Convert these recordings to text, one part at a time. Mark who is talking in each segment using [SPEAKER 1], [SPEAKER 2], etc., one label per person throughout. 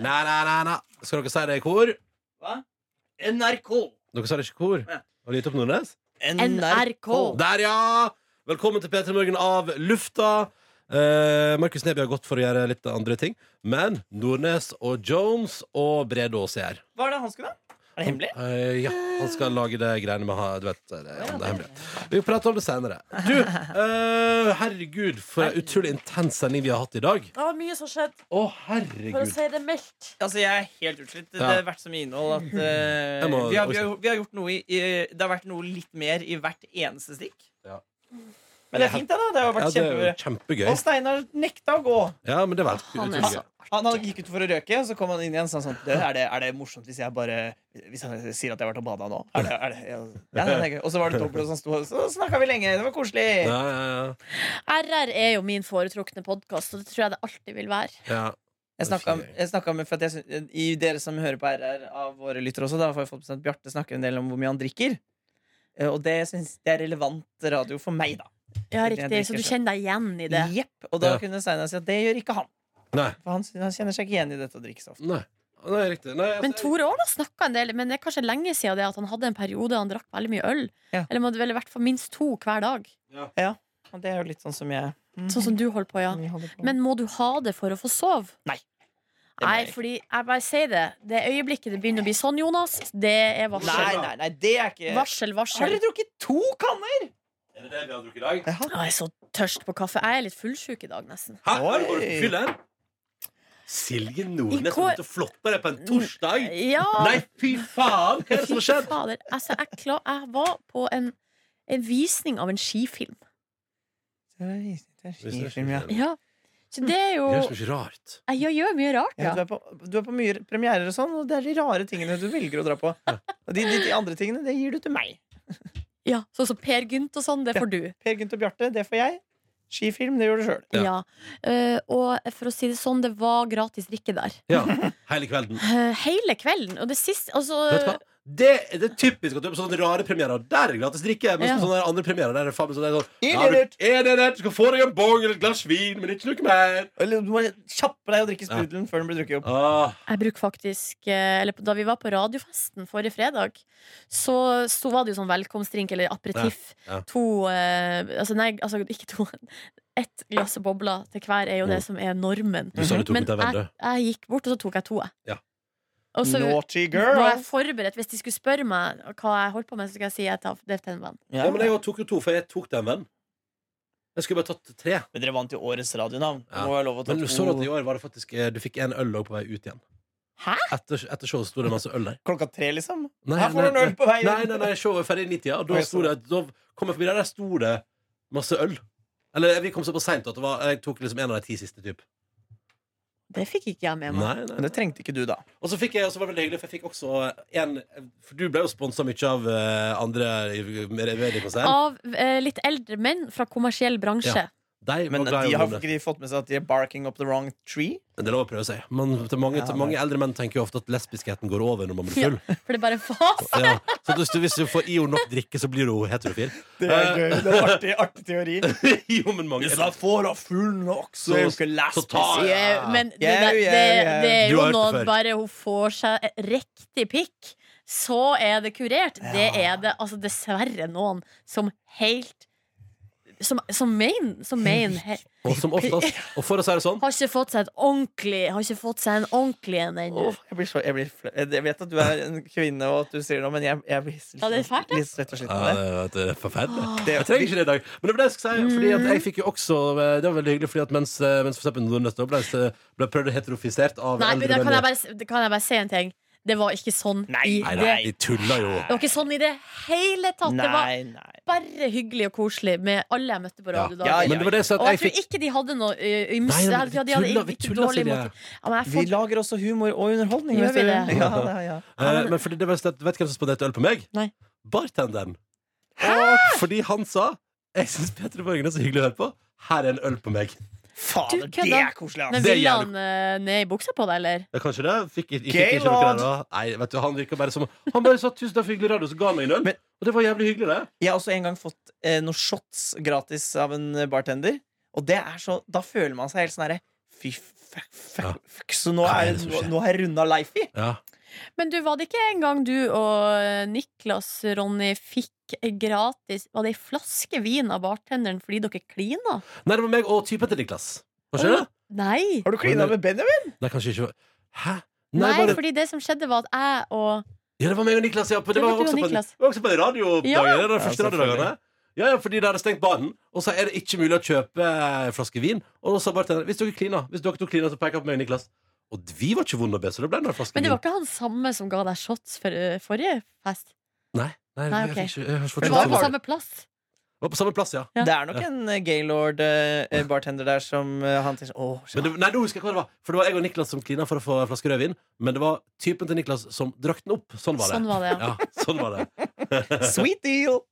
[SPEAKER 1] Nei, nei, nei, nei. Skal dere si det i kor?
[SPEAKER 2] Hva? NRK.
[SPEAKER 1] Dere sa det ikke i kor.
[SPEAKER 2] Ja.
[SPEAKER 1] Og gitt opp Nordnes?
[SPEAKER 3] NRK.
[SPEAKER 1] Der, ja! Velkommen til P3 Morgen av lufta. Eh, Markus Neby har gått for å gjøre litt andre ting. Men Nordnes og Jones og Brede Aas er her.
[SPEAKER 2] Hva er det han skulle da? Er det hemmelig?
[SPEAKER 1] Eh, ja, han skal lage det greiene med ha- Du vet, det, er- om det er hemmelig. Vi prater om det senere. Du, eh, herregud, for en utrolig intens sending vi har hatt i dag.
[SPEAKER 3] Det var mye som skjedde,
[SPEAKER 1] Å,
[SPEAKER 3] for å
[SPEAKER 1] herregud.
[SPEAKER 3] si det mildt.
[SPEAKER 2] Altså, Jeg er helt utslitt. Det,
[SPEAKER 1] Ja.
[SPEAKER 2] det har vært så mye innhold at eh,
[SPEAKER 1] Jeg må-
[SPEAKER 2] vi, har, vi, har, vi har gjort noe i, i Det har vært noe litt mer i hvert eneste stikk.
[SPEAKER 1] Ja.
[SPEAKER 2] Men det er fint, det. da Det har
[SPEAKER 1] Ja,
[SPEAKER 2] vært
[SPEAKER 1] det er jo
[SPEAKER 2] kjempebra. Og
[SPEAKER 1] kjempegøy.
[SPEAKER 2] Steinar nekta å gå.
[SPEAKER 1] Ja, men det var
[SPEAKER 3] Han er
[SPEAKER 1] utrolig gøy.
[SPEAKER 3] så-
[SPEAKER 2] Han, han gikk ut for å røyke, og så kom han inn igjen og sa sånn «Du, er det, er det morsomt hvis jeg bare Hvis han sier at jeg har vært og bada nå? Er det, er det, ja, ja, det er gøy. Og så var det dobbelt, og så sto han- så snakka vi lenge. Det var koselig.
[SPEAKER 1] Ja, ja,
[SPEAKER 3] RR er jo min foretrukne podkast, og det tror jeg det alltid vil være.
[SPEAKER 1] ja. ja.
[SPEAKER 2] Jeg snakka, jeg snakka med for at jeg, syn- I dere som hører på RR av våre lyttere også, da har jeg fått med seg at Bjarte snakker en del om hvor mye han drikker. Eh, Og det syns jeg er relevant radio for meg, da. Det
[SPEAKER 3] Ja,
[SPEAKER 2] er det altså-
[SPEAKER 3] riktig,
[SPEAKER 2] jeg
[SPEAKER 3] Så du
[SPEAKER 2] drikker
[SPEAKER 3] kjenner deg igjen i det.
[SPEAKER 2] Jepp. Og da
[SPEAKER 1] Ja.
[SPEAKER 2] kunne Steinar si at det gjør ikke han.
[SPEAKER 1] Nei.
[SPEAKER 2] For han, han kjenner seg ikke igjen i dette å drikke så ofte.
[SPEAKER 1] Nei. Nei, riktig. Nei,
[SPEAKER 3] Men
[SPEAKER 1] altså,
[SPEAKER 3] Tore Aarland snakka en del, men det er kanskje lenge siden det at han hadde en periode han drakk veldig mye øl.
[SPEAKER 2] Ja.
[SPEAKER 3] Eller må det vel i hvert fall minst to hver dag.
[SPEAKER 2] Og det er jo litt sånn som jeg
[SPEAKER 3] Sånn som du holder på, ja.
[SPEAKER 2] vi holder på.
[SPEAKER 3] Men må du ha det for å få sove?
[SPEAKER 2] Nei. Det må
[SPEAKER 3] Nei,
[SPEAKER 2] jeg ikke.
[SPEAKER 3] fordi jeg bare sier det. Det øyeblikket det begynner å bli sånn, Jonas, det er
[SPEAKER 2] Nei,
[SPEAKER 3] varsel.
[SPEAKER 2] nei, nei, det er ikke
[SPEAKER 3] Varsel,
[SPEAKER 2] Har
[SPEAKER 3] varsel.
[SPEAKER 2] dere drukket to kanner?!
[SPEAKER 1] Er det det vi har drukket i dag?
[SPEAKER 2] Ja.
[SPEAKER 3] Å, Jeg er så tørst på kaffe. Jeg er litt fullsjuk i dag, nesten.
[SPEAKER 1] Hæ?
[SPEAKER 2] Oi.
[SPEAKER 1] Har du vært på fyll her? Silje Nordnes
[SPEAKER 3] I
[SPEAKER 1] har
[SPEAKER 3] går-
[SPEAKER 1] begynt å flotte deg på en torsdag!
[SPEAKER 3] Ja!
[SPEAKER 1] Nei, fy faen! Hva er det som har
[SPEAKER 3] Fy
[SPEAKER 1] skjedd?
[SPEAKER 3] fader. Altså, jeg, kla- jeg var på en, en visning av en skifilm.
[SPEAKER 2] Det er skifilm, ja.
[SPEAKER 3] Ja. Så det er jo
[SPEAKER 1] Det er så mye rart.
[SPEAKER 3] Jeg gjør, gjør mye rart,
[SPEAKER 2] Ja,
[SPEAKER 3] ja.
[SPEAKER 2] du, er på, du er på mye premierer og sånn, og det er de rare tingene du velger å dra på. Og de, de, de andre tingene, det gir du til meg.
[SPEAKER 3] ja. Sånn som Per Gynt og sånn, det får du.
[SPEAKER 2] Per Gynt og Bjarte, det får jeg. Skifilm, det gjør du sjøl.
[SPEAKER 1] Ja.
[SPEAKER 3] Ja. Eh, og for å si det sånn, det var gratis drikke der.
[SPEAKER 1] Ja, Hele kvelden.
[SPEAKER 3] Eh, hele kvelden. Og det siste altså,
[SPEAKER 1] Vet du hva? Det, det er typisk at du er på sånne rare premierer. og Der er gratis drikke. Men
[SPEAKER 3] Ja.
[SPEAKER 1] sånne der andre premierer der er det faen meg sånn, det er sånn
[SPEAKER 2] Er
[SPEAKER 1] ja,
[SPEAKER 2] det
[SPEAKER 1] du, er det det? Du skal få deg en bong eller et glass vin, men ikke noe mer.
[SPEAKER 2] Eller du må kjappe deg å drikke sprudelen før den blir drukket opp.
[SPEAKER 1] Ah,
[SPEAKER 3] Jeg bruker faktisk eh, Eller da vi var på radiofesten forrige fredag, så, sto- var det jo sånn velkomstdrink eller aperitiff.
[SPEAKER 1] Ja, ja.
[SPEAKER 3] To eh, Altså, nei, altså, ikke to. Ett glass bobler til hver er jo det som er normen.
[SPEAKER 1] du sa du tok
[SPEAKER 3] Men
[SPEAKER 1] ut av
[SPEAKER 3] jeg,
[SPEAKER 1] vinduet.
[SPEAKER 3] jeg gikk bort, og så tok jeg to. jeg.
[SPEAKER 1] Ja.
[SPEAKER 3] Og så
[SPEAKER 2] Naughty
[SPEAKER 3] var jeg
[SPEAKER 2] girl!
[SPEAKER 3] forberedt. Hvis de skulle spørre meg hva jeg holdt på med, så skal jeg si at jeg tar det til en venn.
[SPEAKER 2] Ja.
[SPEAKER 1] Ja, men jeg tok jo to, for jeg tok den, venn. Jeg skulle bare tatt tre.
[SPEAKER 2] Men dere vant jo årets radionavn.
[SPEAKER 1] Ja.
[SPEAKER 2] Det Oh. Må være lov å ta
[SPEAKER 1] Men du så at i
[SPEAKER 2] to.
[SPEAKER 1] år var det faktisk eh, Du fikk en øl også på vei ut igjen.
[SPEAKER 3] Hæ?
[SPEAKER 1] Etter, etter showet sto det masse øl der.
[SPEAKER 2] Klokka tre, liksom?
[SPEAKER 1] Nei,
[SPEAKER 2] Her får du en øl på veien!
[SPEAKER 1] Nei, nei, nei, showet er ferdig i 90 Og da,
[SPEAKER 2] Oi, så
[SPEAKER 1] sto det, da kom jeg forbi der, der sto det masse øl Eller vi kom så på sent at det var, jeg tok liksom en av de ti siste typ
[SPEAKER 3] Det fikk ikke jeg med meg.
[SPEAKER 1] Nei, nei
[SPEAKER 2] Men det trengte ikke du, da.
[SPEAKER 1] Og så fikk jeg, og så var det veldig hyggelig For jeg fikk også en For du ble jo sponset mye av eh, andre i- med-
[SPEAKER 2] Ah.
[SPEAKER 1] mediekonsern
[SPEAKER 3] Av eh, litt eldre menn fra kommersiell bransje.
[SPEAKER 1] Ja. De var
[SPEAKER 2] Men de
[SPEAKER 1] glad i
[SPEAKER 2] har
[SPEAKER 1] ungdommen.
[SPEAKER 2] ikke de fått med seg at de er barking up the wrong tree?
[SPEAKER 1] Men Det er lov å prøve seg Man, til mange,
[SPEAKER 2] Ja,
[SPEAKER 1] til mange eldre menn tenker jo ofte at lesbiskheten går over når man blir full
[SPEAKER 3] For det er bare en fase.
[SPEAKER 1] ja. Så hvis du, hvis du får i henne nok drikke så blir hun heterofil
[SPEAKER 2] Det
[SPEAKER 1] er
[SPEAKER 2] gøy. Eh, Det er artig, artig teori.
[SPEAKER 1] Jo, men mange
[SPEAKER 2] får da full nok,
[SPEAKER 1] så er jo ikke lesbisk.
[SPEAKER 3] Ja, Men det,
[SPEAKER 2] Yeah,
[SPEAKER 3] det,
[SPEAKER 2] yeah,
[SPEAKER 3] det, det
[SPEAKER 1] yeah.
[SPEAKER 3] er
[SPEAKER 1] Du
[SPEAKER 3] jo
[SPEAKER 1] har hørt det
[SPEAKER 3] noe
[SPEAKER 1] før.
[SPEAKER 3] Bare hun får seg et riktig pikk, så er det kurert. Det
[SPEAKER 2] Ja.
[SPEAKER 3] er det altså dessverre noen som helt Som, som mener som mener he,
[SPEAKER 1] Og som oftest Og for å si det sånn
[SPEAKER 3] Har ikke fått seg et ordentlig Har ikke fått seg en ordentlig en ennå.
[SPEAKER 2] Åh, jeg, blir så, jeg, blir flau. jeg vet at du er en kvinne, og at du sier noe, men jeg, jeg blir litt,
[SPEAKER 3] Ja, det er fælt, det.
[SPEAKER 2] litt slett og sliten
[SPEAKER 1] Ja,
[SPEAKER 2] av det.
[SPEAKER 1] det, det er eh, forferdelig.
[SPEAKER 2] Det-
[SPEAKER 1] Jeg trenger ikke det i dag. Men det var det jeg skulle si. Fordi at jeg fikk jo også eh, Det var veldig hyggelig, fordi at mens, eh, mens for eksempel Nordnes da ble, ble prøvd heterofisert av
[SPEAKER 3] Nei, men
[SPEAKER 1] eldre
[SPEAKER 3] da kan jeg,
[SPEAKER 1] menn.
[SPEAKER 3] bare, s- da kan jeg bare si en ting. Det var ikke sånn
[SPEAKER 2] Nei,
[SPEAKER 3] i
[SPEAKER 1] Nei,
[SPEAKER 3] det
[SPEAKER 1] nei, de tulla jo.
[SPEAKER 3] Det var ikke sånn i det hele tatt. Det var
[SPEAKER 2] Nei, nei.
[SPEAKER 3] bare hyggelig og koselig med alle jeg møtte på
[SPEAKER 1] Ja.
[SPEAKER 3] Radio
[SPEAKER 2] Ja,
[SPEAKER 3] Dagen.
[SPEAKER 1] Men det var det jeg sa
[SPEAKER 3] Og
[SPEAKER 1] at
[SPEAKER 3] jeg
[SPEAKER 1] jeg fikk
[SPEAKER 3] tror ikke de hadde noe ø, ymse.
[SPEAKER 1] Nei, nei,
[SPEAKER 3] Jeg
[SPEAKER 1] men
[SPEAKER 3] tror
[SPEAKER 1] vi
[SPEAKER 3] de hadde
[SPEAKER 1] tuller, vi
[SPEAKER 3] ikke
[SPEAKER 1] tuller,
[SPEAKER 3] dårlig
[SPEAKER 1] Silje.
[SPEAKER 3] motiv. Ja, men jeg
[SPEAKER 2] Vi
[SPEAKER 3] får,
[SPEAKER 2] lager også humor og underholdning. vet
[SPEAKER 3] Gjør vi
[SPEAKER 2] du.
[SPEAKER 3] det?
[SPEAKER 2] Ja, ja, ja.
[SPEAKER 1] Eh, Men fordi det var slett, Vet du hvem som spanderte øl på meg?
[SPEAKER 3] Nei.
[SPEAKER 1] Bartenderen. Fordi han sa Jeg syns Petter Borgen er så hyggelig å høre på. Her er en øl på meg.
[SPEAKER 2] Fader,
[SPEAKER 3] Du
[SPEAKER 2] det
[SPEAKER 3] kødda.
[SPEAKER 2] er koselig,
[SPEAKER 3] men
[SPEAKER 2] ass!
[SPEAKER 1] Det er
[SPEAKER 3] ville han ø, ned i buksa på deg, eller?
[SPEAKER 1] Ja, kanskje det? Fikk, ikke-
[SPEAKER 2] Gay
[SPEAKER 1] ikke, ikke noe
[SPEAKER 2] lord.
[SPEAKER 1] der, da. Nei, vet du, han virka bare som Han bare sa 'tusen takk for hyggelig radio', så ga han meg en øl.
[SPEAKER 2] Men-
[SPEAKER 1] Og det var jævlig hyggelig, det.
[SPEAKER 2] Jeg har også en gang fått eh, noen eh, shots gratis av en bartender, og det er så Da føler man seg helt sånn herre Fy fuck,
[SPEAKER 1] Ja.
[SPEAKER 2] fuck, fuck, så nå
[SPEAKER 1] Hva er
[SPEAKER 2] er,
[SPEAKER 1] det som
[SPEAKER 2] nå,
[SPEAKER 1] skjer?
[SPEAKER 2] nå har jeg runda Leifi.
[SPEAKER 1] Ja.
[SPEAKER 3] Men du, var det ikke engang du og Niklas, Ronny, fikk gratis Var det ei flaske vin av bartenderen fordi dere klina?
[SPEAKER 1] Nei, det var meg og typen til Niklas. Var ikke det?
[SPEAKER 3] Nei.
[SPEAKER 2] Har du klina med Benjamin?
[SPEAKER 1] Nei, kanskje ikke Hæ? Nei,
[SPEAKER 3] Nei,
[SPEAKER 1] bare...
[SPEAKER 3] fordi det som skjedde, var at jeg og
[SPEAKER 1] Ja, det var meg og Niklas, ja. Det,
[SPEAKER 3] Det
[SPEAKER 1] var
[SPEAKER 3] var du og
[SPEAKER 1] også på,
[SPEAKER 3] Niklas.
[SPEAKER 1] det var også på de radiodagene.
[SPEAKER 3] Ja.
[SPEAKER 1] Det var de
[SPEAKER 2] Ja,
[SPEAKER 1] første
[SPEAKER 2] selvfølgelig.
[SPEAKER 1] radiodagene. Ja, ja, fordi de hadde stengt baren, og så er det ikke mulig å kjøpe eh, flaske vin. Og da sa bartenderen hvis dere klina, hvis dere to klina, så peker jeg på meg og Niklas. Og vi var ikke vonde å be, så det ble en flaske
[SPEAKER 3] Men det
[SPEAKER 1] vin.
[SPEAKER 3] var ikke han samme som ga deg shots for, ø, forrige fest?
[SPEAKER 1] Nei, nei,
[SPEAKER 3] Nei,
[SPEAKER 1] jeg
[SPEAKER 3] ok.
[SPEAKER 1] fikk ikke, jeg har ikke fått
[SPEAKER 2] Men
[SPEAKER 3] Det
[SPEAKER 1] kjøpt
[SPEAKER 3] var
[SPEAKER 1] sånn.
[SPEAKER 3] på
[SPEAKER 2] var-
[SPEAKER 3] samme plass.
[SPEAKER 1] Det var på samme plass, ja.
[SPEAKER 3] Ja.
[SPEAKER 2] Det er nok en eh, gaylord eh, eh, bartender der som eh, han tenker sånn, Åh,
[SPEAKER 1] Men det, nei, nå husker jeg hva det var. For det var jeg og Niklas som klina for å få en flaske rødvin. Men det var typen til Niklas som drakk den opp. Sånn var det.
[SPEAKER 3] Sånn var det, ja.
[SPEAKER 1] Ja, sånn var det.
[SPEAKER 2] sweet deal!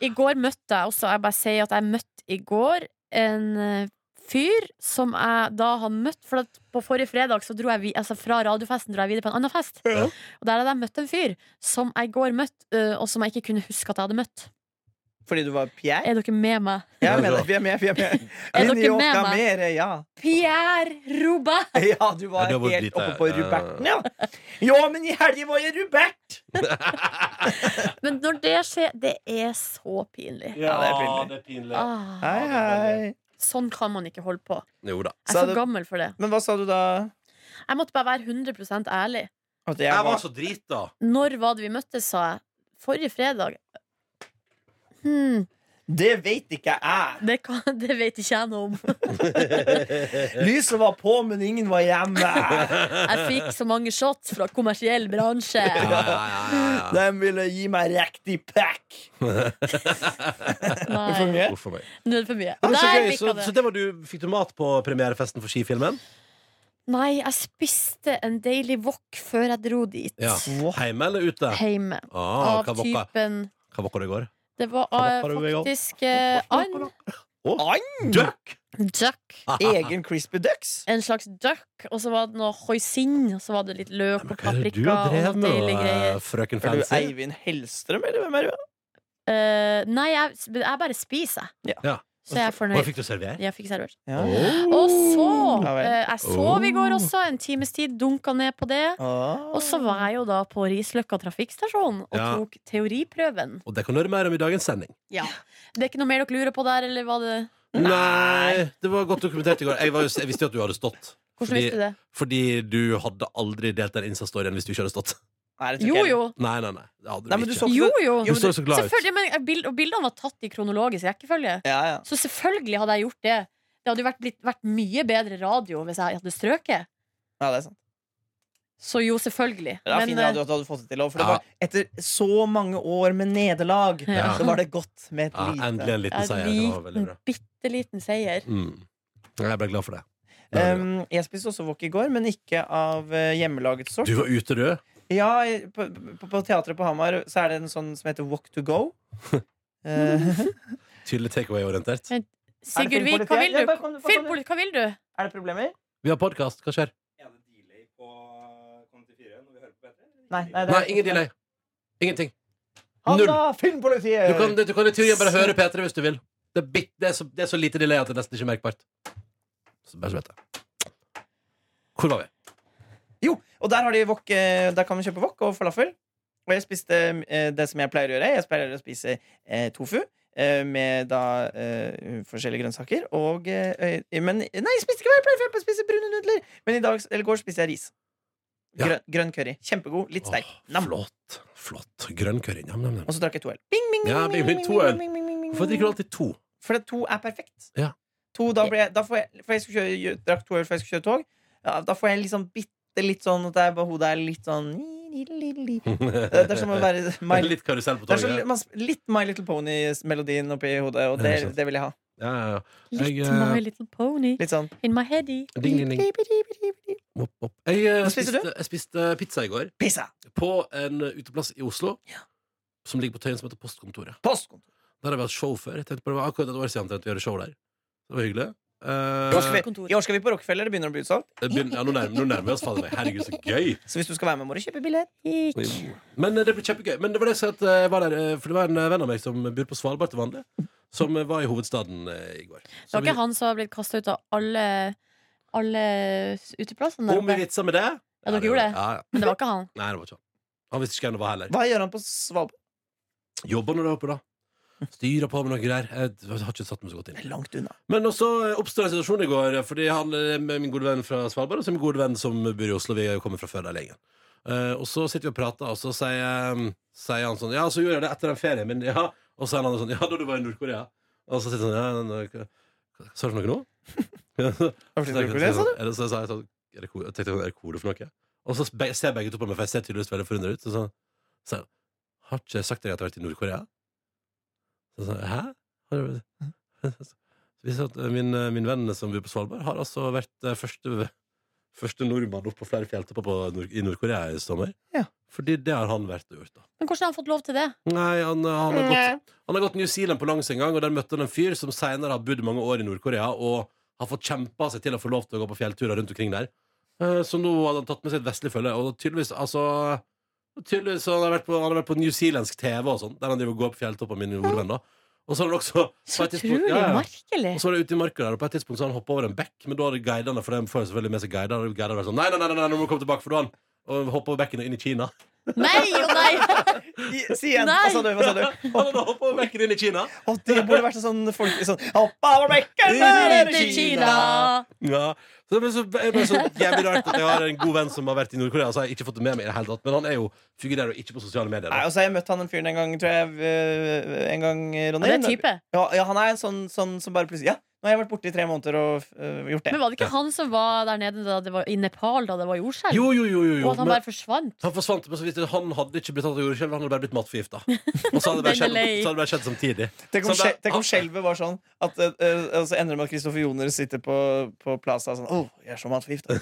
[SPEAKER 3] I går møtte jeg også Jeg bare sier at jeg møtte i går en eh, fyr som jeg da har møtt. For at på forrige fredag så dro jeg vi, altså fra radiofesten dro jeg videre på en annen fest.
[SPEAKER 1] Ja.
[SPEAKER 3] Og der hadde jeg møtt en fyr som jeg i går møtte, eh, og som jeg ikke kunne huske at jeg hadde møtt.
[SPEAKER 2] Fordi du var Pierre?
[SPEAKER 3] Er dere med meg?
[SPEAKER 2] Ja,
[SPEAKER 1] Ja,
[SPEAKER 2] men,
[SPEAKER 1] bra.
[SPEAKER 2] vi er med, vi er med.
[SPEAKER 3] Er
[SPEAKER 2] Men
[SPEAKER 3] dere
[SPEAKER 2] jo,
[SPEAKER 3] med
[SPEAKER 2] hva
[SPEAKER 3] meg?
[SPEAKER 2] mer, eh, ja.
[SPEAKER 3] Pierre Robert!
[SPEAKER 2] ja, du var
[SPEAKER 1] Ja, det var
[SPEAKER 2] helt
[SPEAKER 1] litt,
[SPEAKER 2] oppe på
[SPEAKER 1] eh,
[SPEAKER 2] Ruberten, ja. Ja, men i helgen var jeg Rubert!
[SPEAKER 3] Men når det skjer Det er så pinlig.
[SPEAKER 2] Ja, det er pinlig.
[SPEAKER 1] det er pinlig.
[SPEAKER 3] Ah,
[SPEAKER 2] Hei, hei.
[SPEAKER 3] sånn kan man ikke holde på.
[SPEAKER 1] Jo da.
[SPEAKER 3] Jeg
[SPEAKER 2] Sa
[SPEAKER 3] er
[SPEAKER 2] du-
[SPEAKER 3] for gammel for det.
[SPEAKER 2] Men hva sa du da?
[SPEAKER 3] Jeg måtte bare være 100 ærlig.
[SPEAKER 2] At jeg
[SPEAKER 1] Jeg
[SPEAKER 2] var
[SPEAKER 1] var så drita.
[SPEAKER 3] Når var det vi møttes, sa jeg. Forrige fredag. Hmm,
[SPEAKER 2] Det vet ikke jeg.
[SPEAKER 3] det, kan, det vet ikke jeg noe om.
[SPEAKER 2] Lyset var på, men ingen var hjemme.
[SPEAKER 3] Jeg fikk så mange shots fra kommersiell bransje.
[SPEAKER 1] Ja, ja, ja, ja, ja.
[SPEAKER 2] De ville gi meg riktig pack.
[SPEAKER 3] Nei,
[SPEAKER 2] For
[SPEAKER 3] nå
[SPEAKER 2] mye.
[SPEAKER 1] Uff a meg.
[SPEAKER 3] er det for mye.
[SPEAKER 1] Men det er så
[SPEAKER 3] Der
[SPEAKER 1] gøy. Så,
[SPEAKER 3] fikk
[SPEAKER 1] så
[SPEAKER 3] jeg det.
[SPEAKER 1] det var du, fikk du mat på premierefesten for skifilmen?
[SPEAKER 3] Nei, jeg spiste en deilig wok før jeg dro dit.
[SPEAKER 1] Ja. Hjemme eller ute?
[SPEAKER 3] Hjemme.
[SPEAKER 1] Ah,
[SPEAKER 3] Av
[SPEAKER 1] hva vokka
[SPEAKER 3] typen
[SPEAKER 1] hva vokka det i går?
[SPEAKER 3] Det var
[SPEAKER 1] Hva
[SPEAKER 3] eh,
[SPEAKER 1] var det vi ga?
[SPEAKER 3] faktisk eh, and,
[SPEAKER 2] And!
[SPEAKER 1] Duck!
[SPEAKER 3] duck.
[SPEAKER 2] Egen Crispy Ducks.
[SPEAKER 3] En slags duck, og så var det noe hoisin, og så var det litt løk og
[SPEAKER 1] Men Hva er det du
[SPEAKER 3] paprika.
[SPEAKER 1] har
[SPEAKER 3] Og
[SPEAKER 1] drevet
[SPEAKER 3] noen
[SPEAKER 1] med,
[SPEAKER 3] deilige
[SPEAKER 1] eh,
[SPEAKER 3] greier.
[SPEAKER 1] frøken
[SPEAKER 2] Er du
[SPEAKER 1] Fancy?
[SPEAKER 2] Eivind Hellstrøm, eller hvem er du?
[SPEAKER 3] Eh, nei, jeg, jeg bare spiser, jeg.
[SPEAKER 1] Ja.
[SPEAKER 3] Så jeg er
[SPEAKER 1] Hva
[SPEAKER 3] fornøyd.
[SPEAKER 1] fikk du servert?
[SPEAKER 3] Jeg fikk servert.
[SPEAKER 2] Ja.
[SPEAKER 3] Og så
[SPEAKER 2] Ja vel.
[SPEAKER 3] eh, Jeg sov i går også, en times tid, dunka ned på det.
[SPEAKER 2] Ah.
[SPEAKER 3] Og så var jeg jo da på Risløkka trafikkstasjon og
[SPEAKER 1] Ja.
[SPEAKER 3] tok teoriprøven.
[SPEAKER 1] Og det kan du høre mer om i dagens sending.
[SPEAKER 3] Det er ikke noe mer dere lurer på der, eller var det
[SPEAKER 1] Nei, det var godt dokumentert i går. Jeg, var jo, jeg visste jo at du hadde stått.
[SPEAKER 3] Hvordan
[SPEAKER 1] Fordi-
[SPEAKER 3] visste du det?
[SPEAKER 1] Fordi du hadde aldri delt den Insta-storyen hvis du ikke hadde stått.
[SPEAKER 2] Nei, det tror
[SPEAKER 3] Jo
[SPEAKER 2] ikke jeg.
[SPEAKER 3] jo.
[SPEAKER 1] Nei, nei, nei. Det hadde
[SPEAKER 2] Nei, men
[SPEAKER 1] du
[SPEAKER 2] du
[SPEAKER 1] ikke.
[SPEAKER 2] så-
[SPEAKER 3] Jo jo.
[SPEAKER 1] Du så så glad ut.
[SPEAKER 3] Selvfølgelig, men eh, bild, og bildene var tatt i kronologisk rekkefølge.
[SPEAKER 2] Ja, ja.
[SPEAKER 3] Så selvfølgelig hadde jeg gjort det. Det hadde jo vært, blitt, vært mye bedre radio hvis jeg hadde strøket.
[SPEAKER 2] ja, det er sant.
[SPEAKER 3] Så jo, selvfølgelig.
[SPEAKER 2] Det er fin
[SPEAKER 3] eh,
[SPEAKER 2] radio at du hadde fått det til. også, For det
[SPEAKER 1] Ja.
[SPEAKER 2] var, etter så mange år med nederlag,
[SPEAKER 3] Ja.
[SPEAKER 2] så var det godt med et
[SPEAKER 1] Ja, endelig
[SPEAKER 2] lite
[SPEAKER 1] en liten seier. Det var veldig
[SPEAKER 3] en
[SPEAKER 1] bra.
[SPEAKER 3] bitte liten seier.
[SPEAKER 1] Mm. Jeg ble glad for det. det var bra.
[SPEAKER 2] um, Jeg spiste også wok i går, men ikke av eh, hjemmelaget sort.
[SPEAKER 1] du var ute, du.
[SPEAKER 2] Ja, i- på, på, på teatret på Hamar Så er det en sånn som heter Walk to go. Eh,
[SPEAKER 1] Tydelig takeaway-orientert.
[SPEAKER 3] Sigurd Vik,
[SPEAKER 2] filmpolitiet?
[SPEAKER 3] hva vil
[SPEAKER 2] Ja,
[SPEAKER 3] du?
[SPEAKER 2] bare kom du- bare kom du.
[SPEAKER 3] Filmpolitiet, hva vil du?
[SPEAKER 2] er det problemer?
[SPEAKER 1] Vi har podkast. Hva skjer?
[SPEAKER 4] Er det delay på Kom til fire når vi hører på P3?
[SPEAKER 2] Nei, nei, det er
[SPEAKER 1] Nei, ingen delay. Ingenting.
[SPEAKER 2] Hanna,
[SPEAKER 1] Null.
[SPEAKER 2] filmpolitiet!
[SPEAKER 1] Du kan, du kan i teorien bare høre P3 hvis du vil. Det er, bitt, det, er så, det er så lite delay at det er nesten ikke er merkbart. Så bare så vet jeg. Hvor var vi?
[SPEAKER 2] Jo, og der, har de wok, eh, der kan man kjøpe wok og falafel. Og jeg spiste eh, det som jeg pleier å gjøre. Jeg pleier å spise eh, tofu. eh, Med da eh, forskjellige grønnsaker. Og, eh, øy- men Nei, jeg spiste ikke hva jeg pleier, for jeg pleier å spise brune nudler! Men i dag, eller i går spiste jeg ris.
[SPEAKER 1] Ja.
[SPEAKER 2] Grønn, grønn curry. Kjempegod. Litt sterk.
[SPEAKER 1] Åh,
[SPEAKER 2] Nam.
[SPEAKER 1] flott. Flott. Grønn curry. Nam, nam, nam.
[SPEAKER 2] Og så drakk jeg to øl. Bing, bing,
[SPEAKER 1] Ja, Ah, bing, bing, to øl. Hvorfor drikker du alltid to?
[SPEAKER 2] For to er perfekt.
[SPEAKER 1] Ja.
[SPEAKER 2] To, da ble jeg, da får jeg, for jeg skulle kjøre, jeg drakk to øl før jeg skulle kjøre tog. Ja, da får jeg liksom bitte litt sånn at jeg, bare- hodet er litt sånn Det er som å være My,
[SPEAKER 1] Litt karusell på
[SPEAKER 2] det er som,
[SPEAKER 1] toget.
[SPEAKER 2] man, sp- Litt My Little Pony-melodien oppi hodet, og
[SPEAKER 1] Ja,
[SPEAKER 2] det,
[SPEAKER 1] sant.
[SPEAKER 2] det vil jeg ha.
[SPEAKER 1] Ja, ja, ja. Jeg,
[SPEAKER 3] Litt
[SPEAKER 1] eh,
[SPEAKER 3] My Little Pony
[SPEAKER 2] Litt sånn
[SPEAKER 3] in my heady.
[SPEAKER 1] Ding, ding, ding. Opp, opp. Jeg, eh,
[SPEAKER 2] Hva spiser
[SPEAKER 1] spiste, jeg spiste pizza i går
[SPEAKER 2] Pizza!
[SPEAKER 1] på en eh, uteplass i Oslo som ligger på Tøyen, som heter Postkontoret.
[SPEAKER 2] Postkontor.
[SPEAKER 1] Der har vi hatt show før. Jeg tenkte på det var akkurat et år siden omtrent vi hadde show der. Det var hyggelig. Eh,
[SPEAKER 2] Nå skal, vi,
[SPEAKER 3] Kontor.
[SPEAKER 2] I år skal vi på Rockefeller, det begynner å bli utsolgt.
[SPEAKER 1] det begynner- ja, nå, nærmer, nå nærmer vi oss fader meg. Herregud, så gøy!
[SPEAKER 2] Så hvis du skal være med, må du kjøpe billett.
[SPEAKER 3] Ikk.
[SPEAKER 1] Men eh, det ble kjempegøy. Men det var det jeg sa at eh, jeg var der, eh, for det var en eh, venn av meg som bor på Svalbard til vanlig, som eh, var i hovedstaden eh, i går.
[SPEAKER 3] Det
[SPEAKER 1] Så
[SPEAKER 3] var ikke
[SPEAKER 1] vi,
[SPEAKER 3] han som har blitt kasta ut av alle alle s- uteplassene der
[SPEAKER 1] Om vi
[SPEAKER 3] oppe.
[SPEAKER 1] vitsa med det
[SPEAKER 3] Ja, dere gjorde det.
[SPEAKER 1] Ja, ja.
[SPEAKER 3] Men det var ikke han.
[SPEAKER 1] Nei, det var ikke han. Han visste ikke hvem det var heller.
[SPEAKER 2] Hva gjør han på Svalbard?
[SPEAKER 1] Jobber nå der oppe, da. Styrer på med noe greier. Jeg har ikke satt meg så godt inn.
[SPEAKER 2] Langt unna.
[SPEAKER 1] Men også oppstod en situasjon i går, eh, fordi han er min gode venn fra Svalbard, og så er min gode venn som bor i Oslo, vi er jo kommet fra før der lenge. Eh, og så sitter vi og prater, og så sier, sier han sånn, ja, så gjorde jeg det etter den ferien min, ja. Og så sier han sånn, ja, da du var i Nordkorea. Og så sitter han sånn, ja, men, hva- hva- sa du for noe nå? Ja, så-
[SPEAKER 2] Har du
[SPEAKER 1] så
[SPEAKER 2] vært i
[SPEAKER 1] tenker jeg-
[SPEAKER 2] Nordkorea, sa du?
[SPEAKER 1] er det- så sa jeg sånn, er det ko- jeg tenkte, er det kode for noe? Og så be- ser begge to på meg, for jeg ser tydeligvis veldig forundret ut. Så sånn, så sier han, har ikke jeg sagt deg at jeg har vært i Nordkorea? Så sånn, hæ? Har du vi sa at eh, min, eh, min venn som bor på Svalbard, har altså vært eh, første, første nordmann opp på flere fjelltopper på Nord i Nord-Korea i sommer.
[SPEAKER 2] Ja.
[SPEAKER 1] Fordi det har han vært og gjort, da.
[SPEAKER 3] Men hvordan har han fått lov til det?
[SPEAKER 1] Nei, han, eh, han, har
[SPEAKER 2] Nei.
[SPEAKER 1] gått, han har gått New Zealand på langs en gang, og der møtte han en fyr som seinere har bodd mange år i Nord-Korea, og har fått kjempa seg til å få lov til å gå på fjellturer rundt omkring der. Eh, Så nå hadde han tatt med seg et vestlig følge, og tydeligvis, altså Tydeligvis så han har vært på, han har vært på newzealandsk TV og sånn, der han driver og går på fjelltopper med min nordvenn, da. Og så har han også på
[SPEAKER 3] Så
[SPEAKER 1] et tidspunkt-
[SPEAKER 3] utrolig
[SPEAKER 1] Ja, ja.
[SPEAKER 3] merkelig.
[SPEAKER 1] Og så var det ute i marka der, og på et tidspunkt så hadde han hoppa over en bekk, men da hadde guidene For de får jo selvfølgelig med seg guider, og guidene var sånn Nei, nei, nei, nei, nei, nå må du komme tilbake, for da har han hoppa over bekken og inn i Kina.
[SPEAKER 3] Nei og nei!
[SPEAKER 2] I- Si igjen.
[SPEAKER 3] Nei.
[SPEAKER 2] Hva sa du? Hva sa du?
[SPEAKER 1] Han hadde hoppet over bekken inn i Kina
[SPEAKER 2] Å, det burde vært en sånn folk sånn, Hoppa over bekken, der er
[SPEAKER 3] Til
[SPEAKER 2] det
[SPEAKER 3] Kina!
[SPEAKER 2] Kina!
[SPEAKER 1] Ja, så det er bare så, det er bare så jævlig rart at jeg har en god venn som har vært i Nord-Korea, så har jeg ikke fått det med meg i det hele tatt. Men han er jo figurerer jo ikke på sosiale medier.
[SPEAKER 2] Nei,
[SPEAKER 1] Da.
[SPEAKER 2] og så har jeg møtt han den fyren en gang, tror jeg. øh, En gang,
[SPEAKER 3] Ja,
[SPEAKER 2] Ronny.
[SPEAKER 3] det er type.
[SPEAKER 2] Ja, ja, han er en sånn, sånn som bare plutselig Ja, nå har jeg vært borte i tre måneder og øh, gjort det.
[SPEAKER 3] Men var det ikke han som var der nede da det var, i Nepal da det var jordskjelv?
[SPEAKER 1] Jo, jo, jo, jo,
[SPEAKER 3] Og
[SPEAKER 1] jo.
[SPEAKER 3] at han
[SPEAKER 1] Men
[SPEAKER 3] bare forsvant?
[SPEAKER 1] han forsvant, men så vidt jeg- han hadde ikke blitt tatt av jordskjelv, han hadde bare blitt matforgifta. Og så hadde det bare skjedd,
[SPEAKER 3] Bendeley.
[SPEAKER 1] så hadde det bare skjedd samtidig.
[SPEAKER 2] Tenk om,
[SPEAKER 1] Så det-
[SPEAKER 2] skjel- tenk om skjelvet var sånn at øh, øh, og så ender det med at Kristoffer Joner sitter på, på plaza sånn Å, jeg er så matforgifta.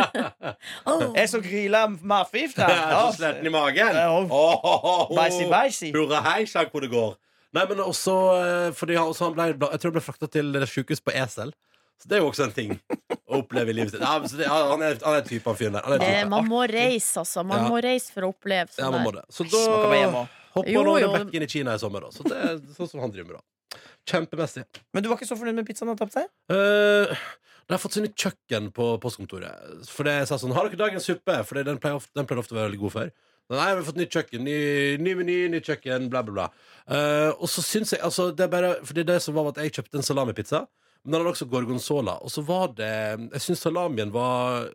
[SPEAKER 3] Åh.
[SPEAKER 2] Jeg er så grilla matforgifta.
[SPEAKER 1] Ja, så sliten i magen.
[SPEAKER 2] Ja.
[SPEAKER 1] Åh, åh, åh, åh.
[SPEAKER 2] Bæsji, bæsji.
[SPEAKER 1] Hurra hei, sa hvor det går. Nei, men også eh, fordi han, også han ble, bla- Jeg tror han ble frakta til det sjukehuset på esel. Så det er jo også en ting å oppleve i livet sitt. Ja, men så det, ja, han er, han er typen av fyren der. Han er
[SPEAKER 3] Det,
[SPEAKER 1] typen.
[SPEAKER 3] Eh, man må reise, altså. Man
[SPEAKER 1] Ja.
[SPEAKER 3] må reise for å oppleve
[SPEAKER 1] Ja,
[SPEAKER 3] sånn
[SPEAKER 1] man må
[SPEAKER 3] der.
[SPEAKER 1] det. Så
[SPEAKER 2] Man kan være
[SPEAKER 1] da
[SPEAKER 2] hjemme også.
[SPEAKER 1] hopper
[SPEAKER 3] Jo,
[SPEAKER 1] han over
[SPEAKER 3] jo.
[SPEAKER 1] bekken i Kina i sommer. Da. Så det er sånn som han driver med, da. Kjempemessig.
[SPEAKER 2] Men du var ikke så fornøyd med pizzaen han tapte seg?
[SPEAKER 1] Eh, de har fått seg nytt kjøkken på postkontoret. For det sa sånn Har dere dagens suppe? For det- den pleier ofte, den pleier ofte å være veldig god før. Nei, vi har fått nytt kjøkken, ny, ny meny, nytt kjøkken, bla, bla, bla. Eh, og så syns jeg altså, det er bare, For det er det som var med at jeg kjøpte en salamipizza, men den hadde også gorgonzola. Og så var det Jeg syns salamien var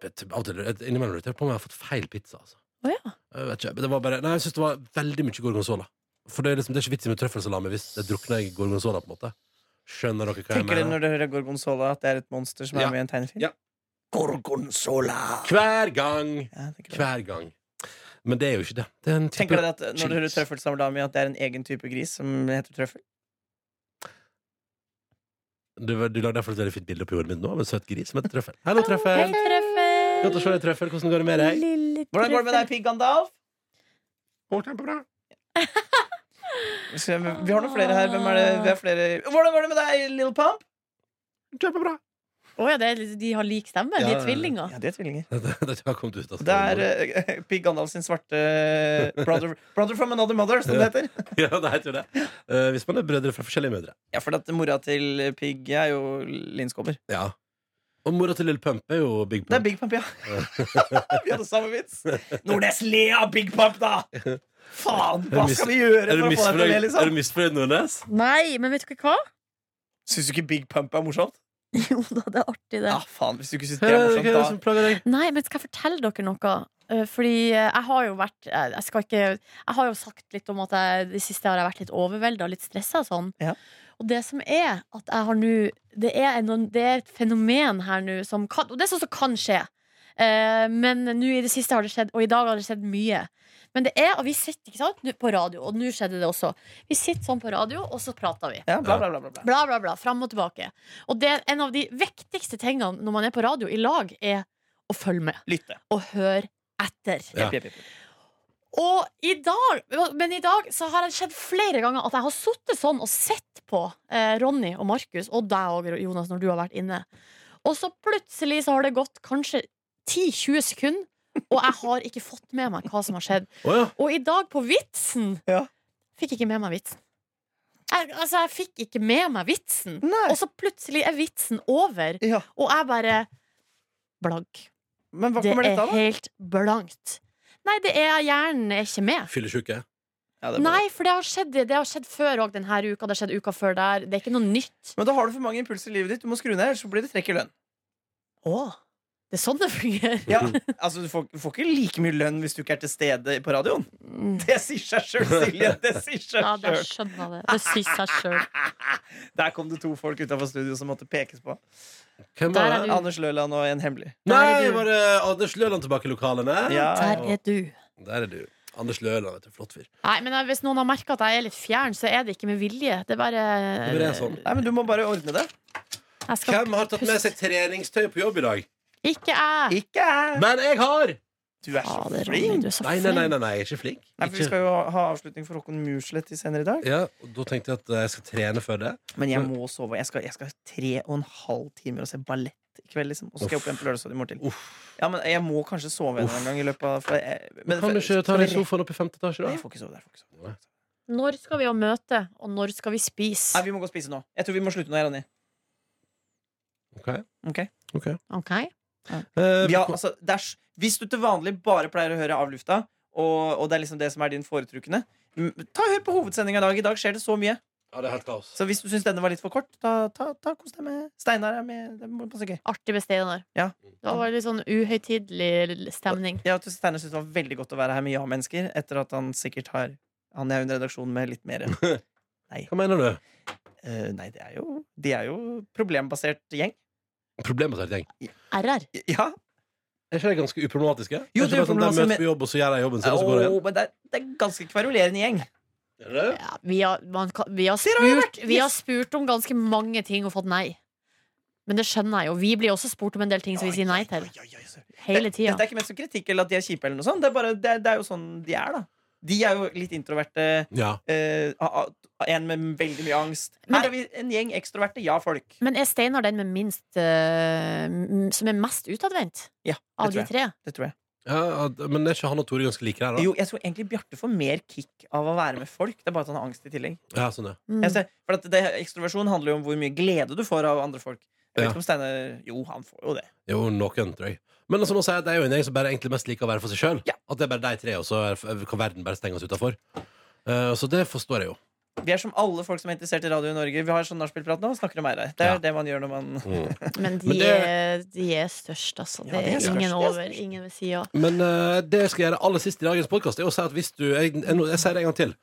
[SPEAKER 1] vet- av og til- Innimellom lurer jeg på om jeg har fått feil pizza, altså.
[SPEAKER 3] Å, ja.
[SPEAKER 1] Jeg vet ikke, men det var bare, nei, jeg syns det var veldig mye gorgonzola. For det er, liksom, det er ikke vits i med trøffelsalami hvis det drukner i gorgonzola, på en måte. Skjønner dere hva jeg
[SPEAKER 2] Tenker
[SPEAKER 1] mener?
[SPEAKER 2] dere når dere hører Gorgonzola at det er et monster som
[SPEAKER 1] Ja.
[SPEAKER 2] er med i en tegnefilm?
[SPEAKER 1] Ja.
[SPEAKER 2] Gorgonzola!
[SPEAKER 1] Hver gang.
[SPEAKER 2] Ja, tenker dere.
[SPEAKER 1] Hver gang. Men det er jo ikke det. det er en type,
[SPEAKER 2] Tenker dere at når
[SPEAKER 1] Chips.
[SPEAKER 2] dere hører trøffelsalami, at det er en egen type gris som heter trøffel?
[SPEAKER 1] Du, du lagde derfor et veldig fint bilde på jordet mitt nå av en søt gris som heter Trøffel. Hallo,
[SPEAKER 3] Hei,
[SPEAKER 1] Trøffel. Godt å se deg,
[SPEAKER 3] trøffel!
[SPEAKER 1] Trøffel. Hvordan går det med deg?
[SPEAKER 3] Lille
[SPEAKER 2] Hvordan går det med deg,
[SPEAKER 3] trøffel.
[SPEAKER 2] Pig Gandalf?
[SPEAKER 1] kjempebra.
[SPEAKER 2] Så Vi har noen flere her. Hvem er det? Vi har flere. Hvordan går det med deg, Little Pump?
[SPEAKER 1] Kjempebra.
[SPEAKER 3] Å ja, det er, de har lik stemme. De
[SPEAKER 1] Ja, ja,
[SPEAKER 3] er
[SPEAKER 1] ja.
[SPEAKER 3] tvillinger.
[SPEAKER 2] Ja, de er tvillinger.
[SPEAKER 1] Dette har kommet ut av
[SPEAKER 2] Det er eh, Pig Gandalf sin svarte eh, brother, brother from another mother, som det heter.
[SPEAKER 1] Ja, det heter jo det. Eh, hvis man er brødre fra forskjellige mødre.
[SPEAKER 2] Ja, for at mora til Pig er jo Linn Skåber.
[SPEAKER 1] Ja. Og mora til Lille Pump er jo Big
[SPEAKER 2] Det er
[SPEAKER 1] Pump.
[SPEAKER 2] Big Pump, ja. vi hadde samme vits. Nordnes, le av Big Pump, da! Faen, hva
[SPEAKER 1] Er du
[SPEAKER 2] skal vi gjøre
[SPEAKER 1] Er
[SPEAKER 2] for
[SPEAKER 1] du
[SPEAKER 2] å få deg til å le,
[SPEAKER 1] misfornøyd, er
[SPEAKER 2] liksom?
[SPEAKER 1] du misfornøyd, Nordnes?
[SPEAKER 3] Nei, men vet dere hva?
[SPEAKER 2] Syns du ikke Big Pump er morsomt?
[SPEAKER 3] Jo da, det er artig, det.
[SPEAKER 2] Ja, faen, hvis du ikke syns
[SPEAKER 1] Hva
[SPEAKER 2] det er
[SPEAKER 1] er det
[SPEAKER 2] morsomt, da
[SPEAKER 1] som plager deg?
[SPEAKER 3] Nei, men skal jeg fortelle dere noe? Eh, Fordi eh, jeg har jo vært eh, Jeg, skal ikke, jeg har jo sagt litt om at jeg, det siste har jeg vært litt overvelda og litt stressa og sånn.
[SPEAKER 2] Ja.
[SPEAKER 3] Og det som er at jeg har nå det, er en- det er et fenomen her nå som kan Og det er sånt som kan skje. Eh, men nå i det siste har det skjedd, og i dag har det skjedd mye. Men det er, og vi sitter ikke sant, nå på radio, og nå skjedde det også. Vi sitter sånn på radio, og så prater vi.
[SPEAKER 2] Ja, bla, bla, bla, bla, bla.
[SPEAKER 3] Bla, bla, bla. Fram og tilbake. Og det er en av de viktigste tingene når man er på radio i lag, er å følge med
[SPEAKER 2] Lytte.
[SPEAKER 3] og høre etter.
[SPEAKER 1] Ja.
[SPEAKER 2] Jepp, jepp, jepp.
[SPEAKER 3] Og i dag, men i dag så har det skjedd flere ganger at jeg har sittet sånn og sett på eh, Ronny og Markus, og deg òg, Jonas, når du har vært inne. Og så plutselig så har det gått kanskje 10-20 sekunder, og jeg har ikke fått med meg hva som har skjedd.
[SPEAKER 1] Å ja.
[SPEAKER 3] Og i dag på vitsen
[SPEAKER 2] Ja.
[SPEAKER 3] fikk jeg ikke med meg vitsen. Jeg, altså, jeg fikk ikke med meg vitsen.
[SPEAKER 2] Nei.
[SPEAKER 3] Og så plutselig er vitsen over,
[SPEAKER 2] Ja.
[SPEAKER 3] og jeg bare Blank.
[SPEAKER 2] Men hva
[SPEAKER 3] Det
[SPEAKER 2] kommer
[SPEAKER 3] er
[SPEAKER 2] dette av, da?
[SPEAKER 3] helt blankt. Nei, det er hjernen er ikke med.
[SPEAKER 1] Fyllesyke.
[SPEAKER 2] Ja, det er bare-
[SPEAKER 3] Nei, for det har skjedd, det har skjedd før òg denne uka. Det har skjedd uka før der. Det er ikke noe nytt.
[SPEAKER 2] Men da har du for mange impulser i livet ditt. Du må skru ned, ellers så blir det trekk i lønn.
[SPEAKER 3] Å, det er sånn det fungerer.
[SPEAKER 2] Ja, altså, du, får, du får ikke like mye lønn hvis du ikke er til stede på radioen.
[SPEAKER 3] Mm.
[SPEAKER 2] Det sier seg sjøl, Silje. Det sier seg
[SPEAKER 3] Ja, det
[SPEAKER 2] selv.
[SPEAKER 3] skjønner jeg det. Det sier seg sjøl.
[SPEAKER 2] Der kom det to folk utafor studio som måtte pekes på.
[SPEAKER 1] Hvem
[SPEAKER 3] Der
[SPEAKER 1] var
[SPEAKER 3] er
[SPEAKER 1] det?
[SPEAKER 3] du.
[SPEAKER 2] Anders Løland og en hemmelig.
[SPEAKER 3] Der er
[SPEAKER 1] Nei,
[SPEAKER 3] du.
[SPEAKER 1] var det Anders Løland tilbake i lokalene?
[SPEAKER 2] Ja,
[SPEAKER 3] Der er du.
[SPEAKER 1] Der er du. Anders Løland, vet du. Flott fyr.
[SPEAKER 3] Nei, men eh, Hvis noen har merka at jeg er litt fjern, så er det ikke med vilje. Det er bare eh,
[SPEAKER 1] Det er bare sånn.
[SPEAKER 2] Nei, men du må bare ordne det.
[SPEAKER 3] Jeg skal
[SPEAKER 1] Hvem har tatt med seg treningstøy på jobb i dag?
[SPEAKER 3] Ikke jeg!
[SPEAKER 2] Ikke jeg.
[SPEAKER 1] Men jeg har!
[SPEAKER 2] Du er
[SPEAKER 3] Ja,
[SPEAKER 2] så
[SPEAKER 3] det er Ronny,
[SPEAKER 2] flink.
[SPEAKER 3] du er så
[SPEAKER 1] Nei, nei, nei,
[SPEAKER 3] flink.
[SPEAKER 1] nei, nei jeg er ikke flink.
[SPEAKER 2] Nei, for vi
[SPEAKER 1] Ikke-
[SPEAKER 2] skal jo ha avslutning for Håkon Muslett i senere i dag.
[SPEAKER 1] Ja, og Da tenkte jeg at eh, jeg skal trene før det.
[SPEAKER 2] Men jeg må sove. Jeg skal, jeg skal ha tre og en halv timer og se ballett i kveld. Liksom. Og så skal jeg opp igjen på lørdagsrådet i morgen til. Ja, men jeg må kanskje sove en eller annen gang i løpet av for jeg, men-
[SPEAKER 1] Kan du ikke ta
[SPEAKER 2] for-
[SPEAKER 1] deg i sofaen opp i femte etasje,
[SPEAKER 2] Nei, jeg
[SPEAKER 1] da?
[SPEAKER 2] får ikke sove der. jeg Får ikke sove.
[SPEAKER 3] Når skal vi ha møte, og når skal vi spise?
[SPEAKER 2] Nei, vi må gå og spise nå. Jeg tror vi må slutte nå, Ronny.
[SPEAKER 1] Eh, Ok.
[SPEAKER 2] Ok.
[SPEAKER 1] Ok.
[SPEAKER 3] Ok?
[SPEAKER 1] Eh,
[SPEAKER 2] Ja, altså, det er, s- hvis du til vanlig bare pleier å høre av lufta, og, og det er liksom det som er din foretrukne m- Ta og Hør på hovedsendinga i dag. I dag skjer det så mye.
[SPEAKER 1] ja, det er helt kaos.
[SPEAKER 2] Så hvis du syns denne var litt for kort, ta, ta, ta kos deg med Steinar. er med. Det må passe gøy.
[SPEAKER 3] Artig med Steinar.
[SPEAKER 2] Ja.
[SPEAKER 3] Det var litt sånn uhøytidelig stemning.
[SPEAKER 2] Ja, til Steinar syntes det var veldig godt å være her med ja-mennesker, etter at han sikkert har Han er jo en redaksjon med litt mer
[SPEAKER 1] Hva mener du?
[SPEAKER 2] Eh, Nei, det er jo De er jo problembasert gjeng.
[SPEAKER 1] Problemet er,
[SPEAKER 3] RR.
[SPEAKER 2] Ja.
[SPEAKER 1] er ikke de ganske uproblematiske?
[SPEAKER 2] Jo,
[SPEAKER 1] Er ikke bare
[SPEAKER 2] det er
[SPEAKER 1] sånn, de
[SPEAKER 2] uproblematisk,
[SPEAKER 1] møtes på jobb, og så gjør de jobben sin, og så går de
[SPEAKER 2] Åh, men det er, det er en ganske kverulerende gjeng.
[SPEAKER 1] igjen?
[SPEAKER 3] Ja, vi, har, man kan, vi, har
[SPEAKER 2] Sier han har
[SPEAKER 3] spurt,
[SPEAKER 2] vært-
[SPEAKER 3] vi har spurt om ganske mange ting og fått nei. Men det skjønner jeg jo. Vi blir også spurt om en del ting som vi sier nei til.
[SPEAKER 2] Oi, oi, oi, oi.
[SPEAKER 3] Hele tida.
[SPEAKER 2] Dette er ikke mest som kritikk eller at de er kjipe. eller noe sånt Det er, bare, det, er- det er jo sånn de er, da. De er jo litt introverte.
[SPEAKER 1] Ja.
[SPEAKER 2] eh, a- a- en med veldig mye angst.
[SPEAKER 3] Men-
[SPEAKER 2] Her er vi en gjeng ekstroverte ja-folk.
[SPEAKER 3] Men er Steinar den med minst eh, m- som er mest utadvendt
[SPEAKER 2] Ja,
[SPEAKER 3] av
[SPEAKER 2] det
[SPEAKER 3] de
[SPEAKER 2] tror jeg.
[SPEAKER 3] tre?
[SPEAKER 2] Det tror jeg.
[SPEAKER 1] ja, ja, Men er ikke han og Tore ganske like der, da?
[SPEAKER 2] Jo, jeg tror egentlig Bjarte får mer kick av å være med folk. Det er bare at han har angst i tillegg.
[SPEAKER 1] Ja, sånn, ja.
[SPEAKER 3] Mm.
[SPEAKER 2] Jeg ser, for at det, Ekstroversjon handler jo om hvor mye glede du får av andre folk. Jeg vet
[SPEAKER 1] Ja.
[SPEAKER 2] ikke om Steinar Jo, han får jo det.
[SPEAKER 1] Jo, noen, tror jeg. Men som hun sier, det er jo en gjeng som bare egentlig mest liker å være for seg sjøl.
[SPEAKER 2] Ja.
[SPEAKER 1] At det er bare de tre, og så er- kan verden bare stenge oss utafor. så det forstår jeg jo.
[SPEAKER 2] Vi er som alle folk som er interessert i radio i Norge. Vi har sånn nachspielprat nå og snakker om ære. Det er
[SPEAKER 1] Ja.
[SPEAKER 2] det man gjør når man
[SPEAKER 3] Men de,
[SPEAKER 1] Men det-
[SPEAKER 3] er, de er størst, altså.
[SPEAKER 2] Ja,
[SPEAKER 3] Det
[SPEAKER 2] de er
[SPEAKER 3] er
[SPEAKER 2] størst,
[SPEAKER 3] ingen
[SPEAKER 2] de er
[SPEAKER 3] over,
[SPEAKER 2] størst.
[SPEAKER 3] ingen ved sida.
[SPEAKER 1] Men eh, det jeg skal gjøre aller sist i dagens podkast, er å si at hvis du Jeg, jeg, nå- jeg sier det en gang til.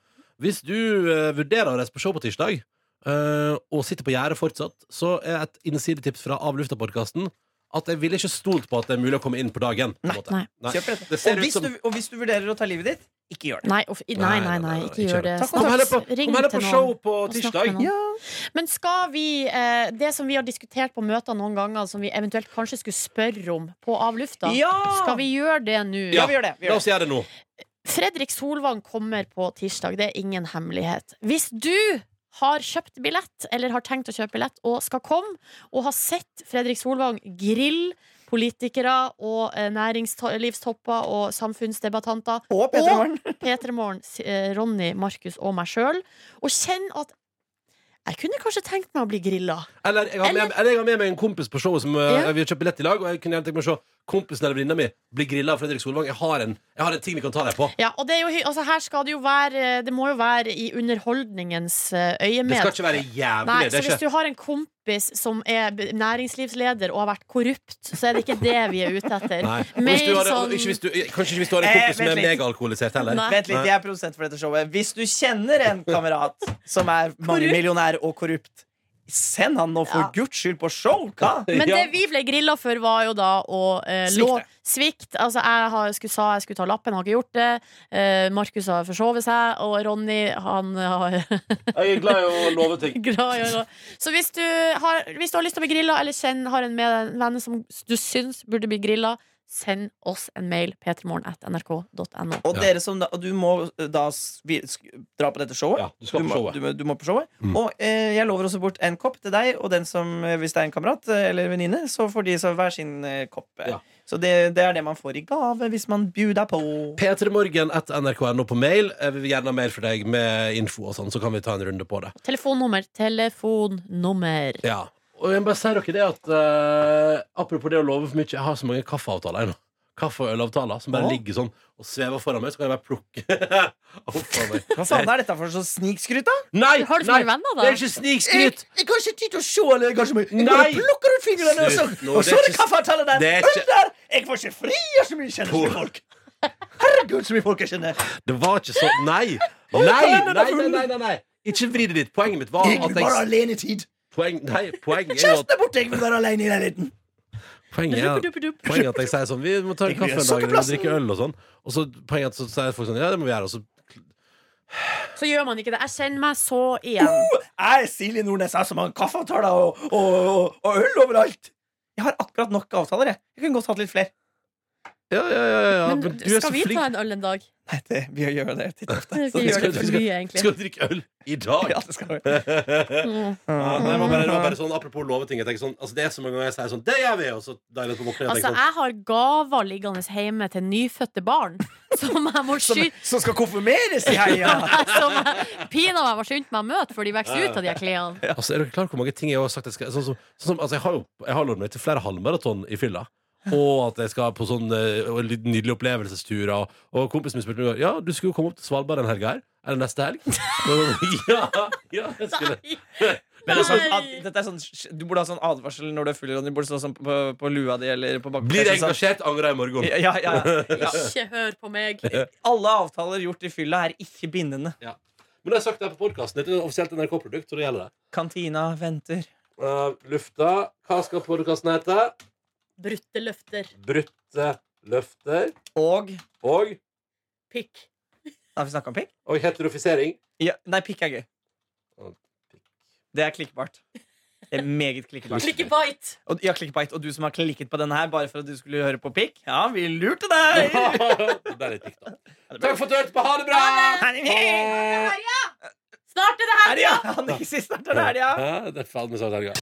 [SPEAKER 1] Hvis du eh, vurderer å reise på show på tirsdag, eh, og sitter på gjerdet fortsatt, så er et innsidetips fra Av lufta-podkasten at jeg ville ikke stolt på at det er mulig å komme inn på dagen. På en måte.
[SPEAKER 3] Nei.
[SPEAKER 2] kjøper dette.
[SPEAKER 1] Det ser
[SPEAKER 2] Og
[SPEAKER 1] ut
[SPEAKER 2] hvis,
[SPEAKER 1] som-
[SPEAKER 2] du, og hvis du vurderer å ta livet ditt, ikke gjør det.
[SPEAKER 3] Nei, uff, i- nei, nei, nei, ikke gjør det.
[SPEAKER 2] Takk,
[SPEAKER 1] Kom
[SPEAKER 2] og
[SPEAKER 3] Snaps,
[SPEAKER 1] heller på,
[SPEAKER 3] ring
[SPEAKER 1] kom heller
[SPEAKER 3] til
[SPEAKER 1] på
[SPEAKER 3] noen.
[SPEAKER 1] show på
[SPEAKER 3] og snakk
[SPEAKER 1] tirsdag.
[SPEAKER 3] med noen. Men skal vi eh, Det som vi har diskutert på møter noen ganger, som vi eventuelt kanskje skulle spørre om på Av lufta,
[SPEAKER 2] Ja!
[SPEAKER 3] skal vi gjøre det nå?
[SPEAKER 2] Ja, vi gjør det. Vi
[SPEAKER 1] La
[SPEAKER 2] gjør det.
[SPEAKER 1] oss gjøre det nå.
[SPEAKER 3] Fredrik Solvang kommer på tirsdag, det er ingen hemmelighet. Hvis du har kjøpt billett, eller har tenkt å kjøpe billett, og skal komme, og har sett Fredrik Solvang grill politikere og eh, næringslivstopper og samfunnsdebattanter,
[SPEAKER 2] Og Peter
[SPEAKER 3] Og-
[SPEAKER 2] Morgen.
[SPEAKER 3] Peter Morgen, S- eh, Ronny, Markus og meg sjøl, og kjenn at jeg kunne kanskje tenkt meg å bli grilla.
[SPEAKER 1] Eller jeg, har med, eller jeg har med meg en kompis på showet som uh,
[SPEAKER 3] Ja.
[SPEAKER 1] vi har kjøpt billett i lag. Og jeg kunne gjerne tenkt meg å se kompisen eller venninna mi bli grilla av Fredrik Solvang. Jeg har, en, jeg har en ting vi kan ta deg på.
[SPEAKER 3] Ja, og det, er jo, hy- altså, her skal det, jo være, det må jo være i underholdningens eh, øyemed.
[SPEAKER 1] Det skal ikke være jævlig.
[SPEAKER 3] Nei,
[SPEAKER 1] det
[SPEAKER 3] så
[SPEAKER 1] er
[SPEAKER 3] hvis
[SPEAKER 1] ikke,
[SPEAKER 3] du har en kompis som er b- næringslivsleder og har vært korrupt, så er det ikke det vi er ute etter.
[SPEAKER 1] nei. Og
[SPEAKER 3] Mer
[SPEAKER 1] Hvis du har,
[SPEAKER 3] sånn-
[SPEAKER 1] ikke hvis du, kanskje ikke hvis du har en
[SPEAKER 2] Eh,
[SPEAKER 1] kompis som er
[SPEAKER 2] vent litt.
[SPEAKER 1] megaalkoholisert heller.
[SPEAKER 3] Nei.
[SPEAKER 2] Vent litt, jeg er produsent for dette showet. Hvis du kjenner en kamerat som er mangemillionær og korrupt, send han nå for
[SPEAKER 3] Ja.
[SPEAKER 2] guds skyld på show! Hva?
[SPEAKER 3] Men det
[SPEAKER 1] Ja.
[SPEAKER 3] vi ble grilla for, var jo da å eh,
[SPEAKER 2] Svikte.
[SPEAKER 3] lå Svikt. Altså, jeg har, skulle, sa jeg skulle ta lappen, har ikke gjort det. Eh, Markus har forsovet seg, og Ronny, han har
[SPEAKER 1] Jeg er glad i å love ting.
[SPEAKER 3] glad i å Så hvis du, har, hvis du har lyst til å bli grilla, eller kjenn, har en med deg en venn som du syns burde bli grilla, send oss en mail. p3morgen.nrk.no.
[SPEAKER 2] Og
[SPEAKER 1] Ja.
[SPEAKER 2] dere som da, og du må eh, da s- vi sk- dra på dette showet.
[SPEAKER 1] Ja, du skal på
[SPEAKER 2] må,
[SPEAKER 1] showet.
[SPEAKER 2] Du, må- du må på showet.
[SPEAKER 1] Mm.
[SPEAKER 2] Og eh, jeg lover også bort en kopp til deg og den som, eh, hvis det er en kamerat eh, eller venninne, så får de så hver sin eh, kopp. eh.
[SPEAKER 1] Ja.
[SPEAKER 2] Så det, det er det man får i gave hvis man bjuder på.
[SPEAKER 1] P3morgen etter nrk.no på mail. Eh, Vi vil gjerne ha mail fra deg med info og sånn, så kan vi ta en runde på det.
[SPEAKER 3] Telefonnummer. Telefonnummer.
[SPEAKER 1] Ja. Og jeg må bare si dere det at eh, Apropos det å love for mye, jeg har så mange kaffeavtaler ennå. Kaffe- og ølavtaler som bare
[SPEAKER 2] Å.
[SPEAKER 1] ligger sånn og svever foran meg, så kan jeg bare plukke. Opp fra meg.
[SPEAKER 2] Hva faen er dette for sånn snikskryt, da?
[SPEAKER 1] Nei!
[SPEAKER 3] Har du så
[SPEAKER 1] nei,
[SPEAKER 3] mange venner, da?
[SPEAKER 1] Det er ikke snikskryt!
[SPEAKER 2] jeg har ikke tid til å se alle engasjement. Jeg
[SPEAKER 1] Nei!
[SPEAKER 2] bare plukker ut fingrene, og så,
[SPEAKER 1] Slutt nå, det
[SPEAKER 2] og
[SPEAKER 1] er
[SPEAKER 2] så er det
[SPEAKER 1] ikke-
[SPEAKER 2] kaffeavtale der.
[SPEAKER 1] det er ikke-
[SPEAKER 2] Øl der! Jeg får ikke fri av så mye kjenner
[SPEAKER 1] På-
[SPEAKER 2] folk. Herregud, så mye folk jeg kjenner.
[SPEAKER 1] Det var ikke sånn. Nei!
[SPEAKER 2] Å,
[SPEAKER 1] Nei, nei,
[SPEAKER 2] kalenderen er
[SPEAKER 1] nei,
[SPEAKER 2] full.
[SPEAKER 1] nei, nei, nei. Ikke vri det dit. Poenget mitt var
[SPEAKER 2] Jeg
[SPEAKER 1] at
[SPEAKER 2] vil bare ha
[SPEAKER 1] jeg
[SPEAKER 2] alenetid.
[SPEAKER 1] Poeng, nei, poenget er jo at
[SPEAKER 2] Kjæresten er borte, jeg vil være alene i leiligheten.
[SPEAKER 1] Poenget er at-
[SPEAKER 3] Dupp-dupp-dupp.
[SPEAKER 1] poenget er at jeg sier sånn Vi må ta en
[SPEAKER 2] Jeg vil
[SPEAKER 1] kaffe en dag
[SPEAKER 2] ha
[SPEAKER 1] og
[SPEAKER 2] sukkerplassen.
[SPEAKER 1] drikke øl og sånn. Og så poenget er at så sier folk sånn Ja, det må vi gjøre. Og så
[SPEAKER 3] Så gjør man ikke det. Jeg kjenner meg så igjen.
[SPEAKER 2] Jeg er Silje Nordnes, jeg som har kaffeavtaler og, og, og, og øl overalt. Jeg har akkurat nok avtaler, jeg. Jeg kunne godt hatt litt flere.
[SPEAKER 1] Ja, ja, ja. ja, ja.
[SPEAKER 3] Men
[SPEAKER 1] Men du er så
[SPEAKER 3] skal vi
[SPEAKER 1] flink.
[SPEAKER 3] ta en øl en dag?
[SPEAKER 2] Nei, det, vi gjør det titt og ofte.
[SPEAKER 3] Vi
[SPEAKER 1] skal-
[SPEAKER 3] gjør det
[SPEAKER 1] skal-
[SPEAKER 3] for mye, egentlig.
[SPEAKER 1] Skal du drikke øl i dag?
[SPEAKER 2] Ja, det skal vi.
[SPEAKER 3] Mm.
[SPEAKER 1] Ja, nei, det, var bare, det var bare sånn Apropos loveting. Jeg tenker sånn, altså, det er så mange ganger jeg sier sånn Det gjør vi! Og sånn, så deilig på våkne.
[SPEAKER 3] Altså, jeg har gaver liggende hjemme til nyfødte barn som jeg må
[SPEAKER 2] Som,
[SPEAKER 3] skyte
[SPEAKER 2] som skal konfirmeres i helga!
[SPEAKER 3] som jeg pinadø meg var skyndt meg å møte, for de vokser ut av de her klærne.
[SPEAKER 1] Altså, er dere klar over hvor mange ting jeg har sagt jeg skal sånn, som, sånn, som- altså, Jeg har jo jeg har lovet meg til flere halvmaraton i fylla. Og at jeg skal på sånn eh, og litt nydelige opplevelsesturer. Og, og kompisen min spurte meg Ja, du skulle jo komme opp til Svalbard den helga her. Eller neste helg. sånn, ja, ja, jeg skulle
[SPEAKER 2] Men det er sånn, at,
[SPEAKER 3] Nei.
[SPEAKER 2] dette er sånn, du burde ha sånn advarsel når du er full, Ronny. Burde stå sånn på, på lua di eller på bakken.
[SPEAKER 1] Blir jeg
[SPEAKER 2] Sånn,
[SPEAKER 1] engasjert, angrer jeg i morgen.
[SPEAKER 2] Ja, ja, ja, ja.
[SPEAKER 3] Ikke hør på meg.
[SPEAKER 2] Alle avtaler gjort i fylla er ikke bindende.
[SPEAKER 1] Men det har jeg sagt det her på podkasten. Dette er et offisielt NRK-produkt, så det gjelder det.
[SPEAKER 2] Kantina venter.
[SPEAKER 1] Eh, lufta. Hva skal podkasten hete?
[SPEAKER 3] Brutte løfter.
[SPEAKER 1] Brutte løfter.
[SPEAKER 2] Og
[SPEAKER 1] Og
[SPEAKER 3] Pikk.
[SPEAKER 2] Har vi snakka om pikk?
[SPEAKER 1] Og heterofisering.
[SPEAKER 2] Ja, nei, pikk er gøy.
[SPEAKER 1] Og pikk.
[SPEAKER 2] Det er klikkbart. Det er meget klikkbart.
[SPEAKER 3] Klikkebite.
[SPEAKER 2] Og, ja, klikkbite. Og du som har klikket på denne her bare for at du skulle høre på pikk? Ja, vi lurte deg!
[SPEAKER 1] det er litt dikt, da. Takk for at du hørte på. Ha det bra!
[SPEAKER 2] Herja!
[SPEAKER 1] Eh,
[SPEAKER 3] Snart er det helga!
[SPEAKER 2] Herja! Han gikk sist starter helga.
[SPEAKER 1] Hæ? Det er faen meg snart helga.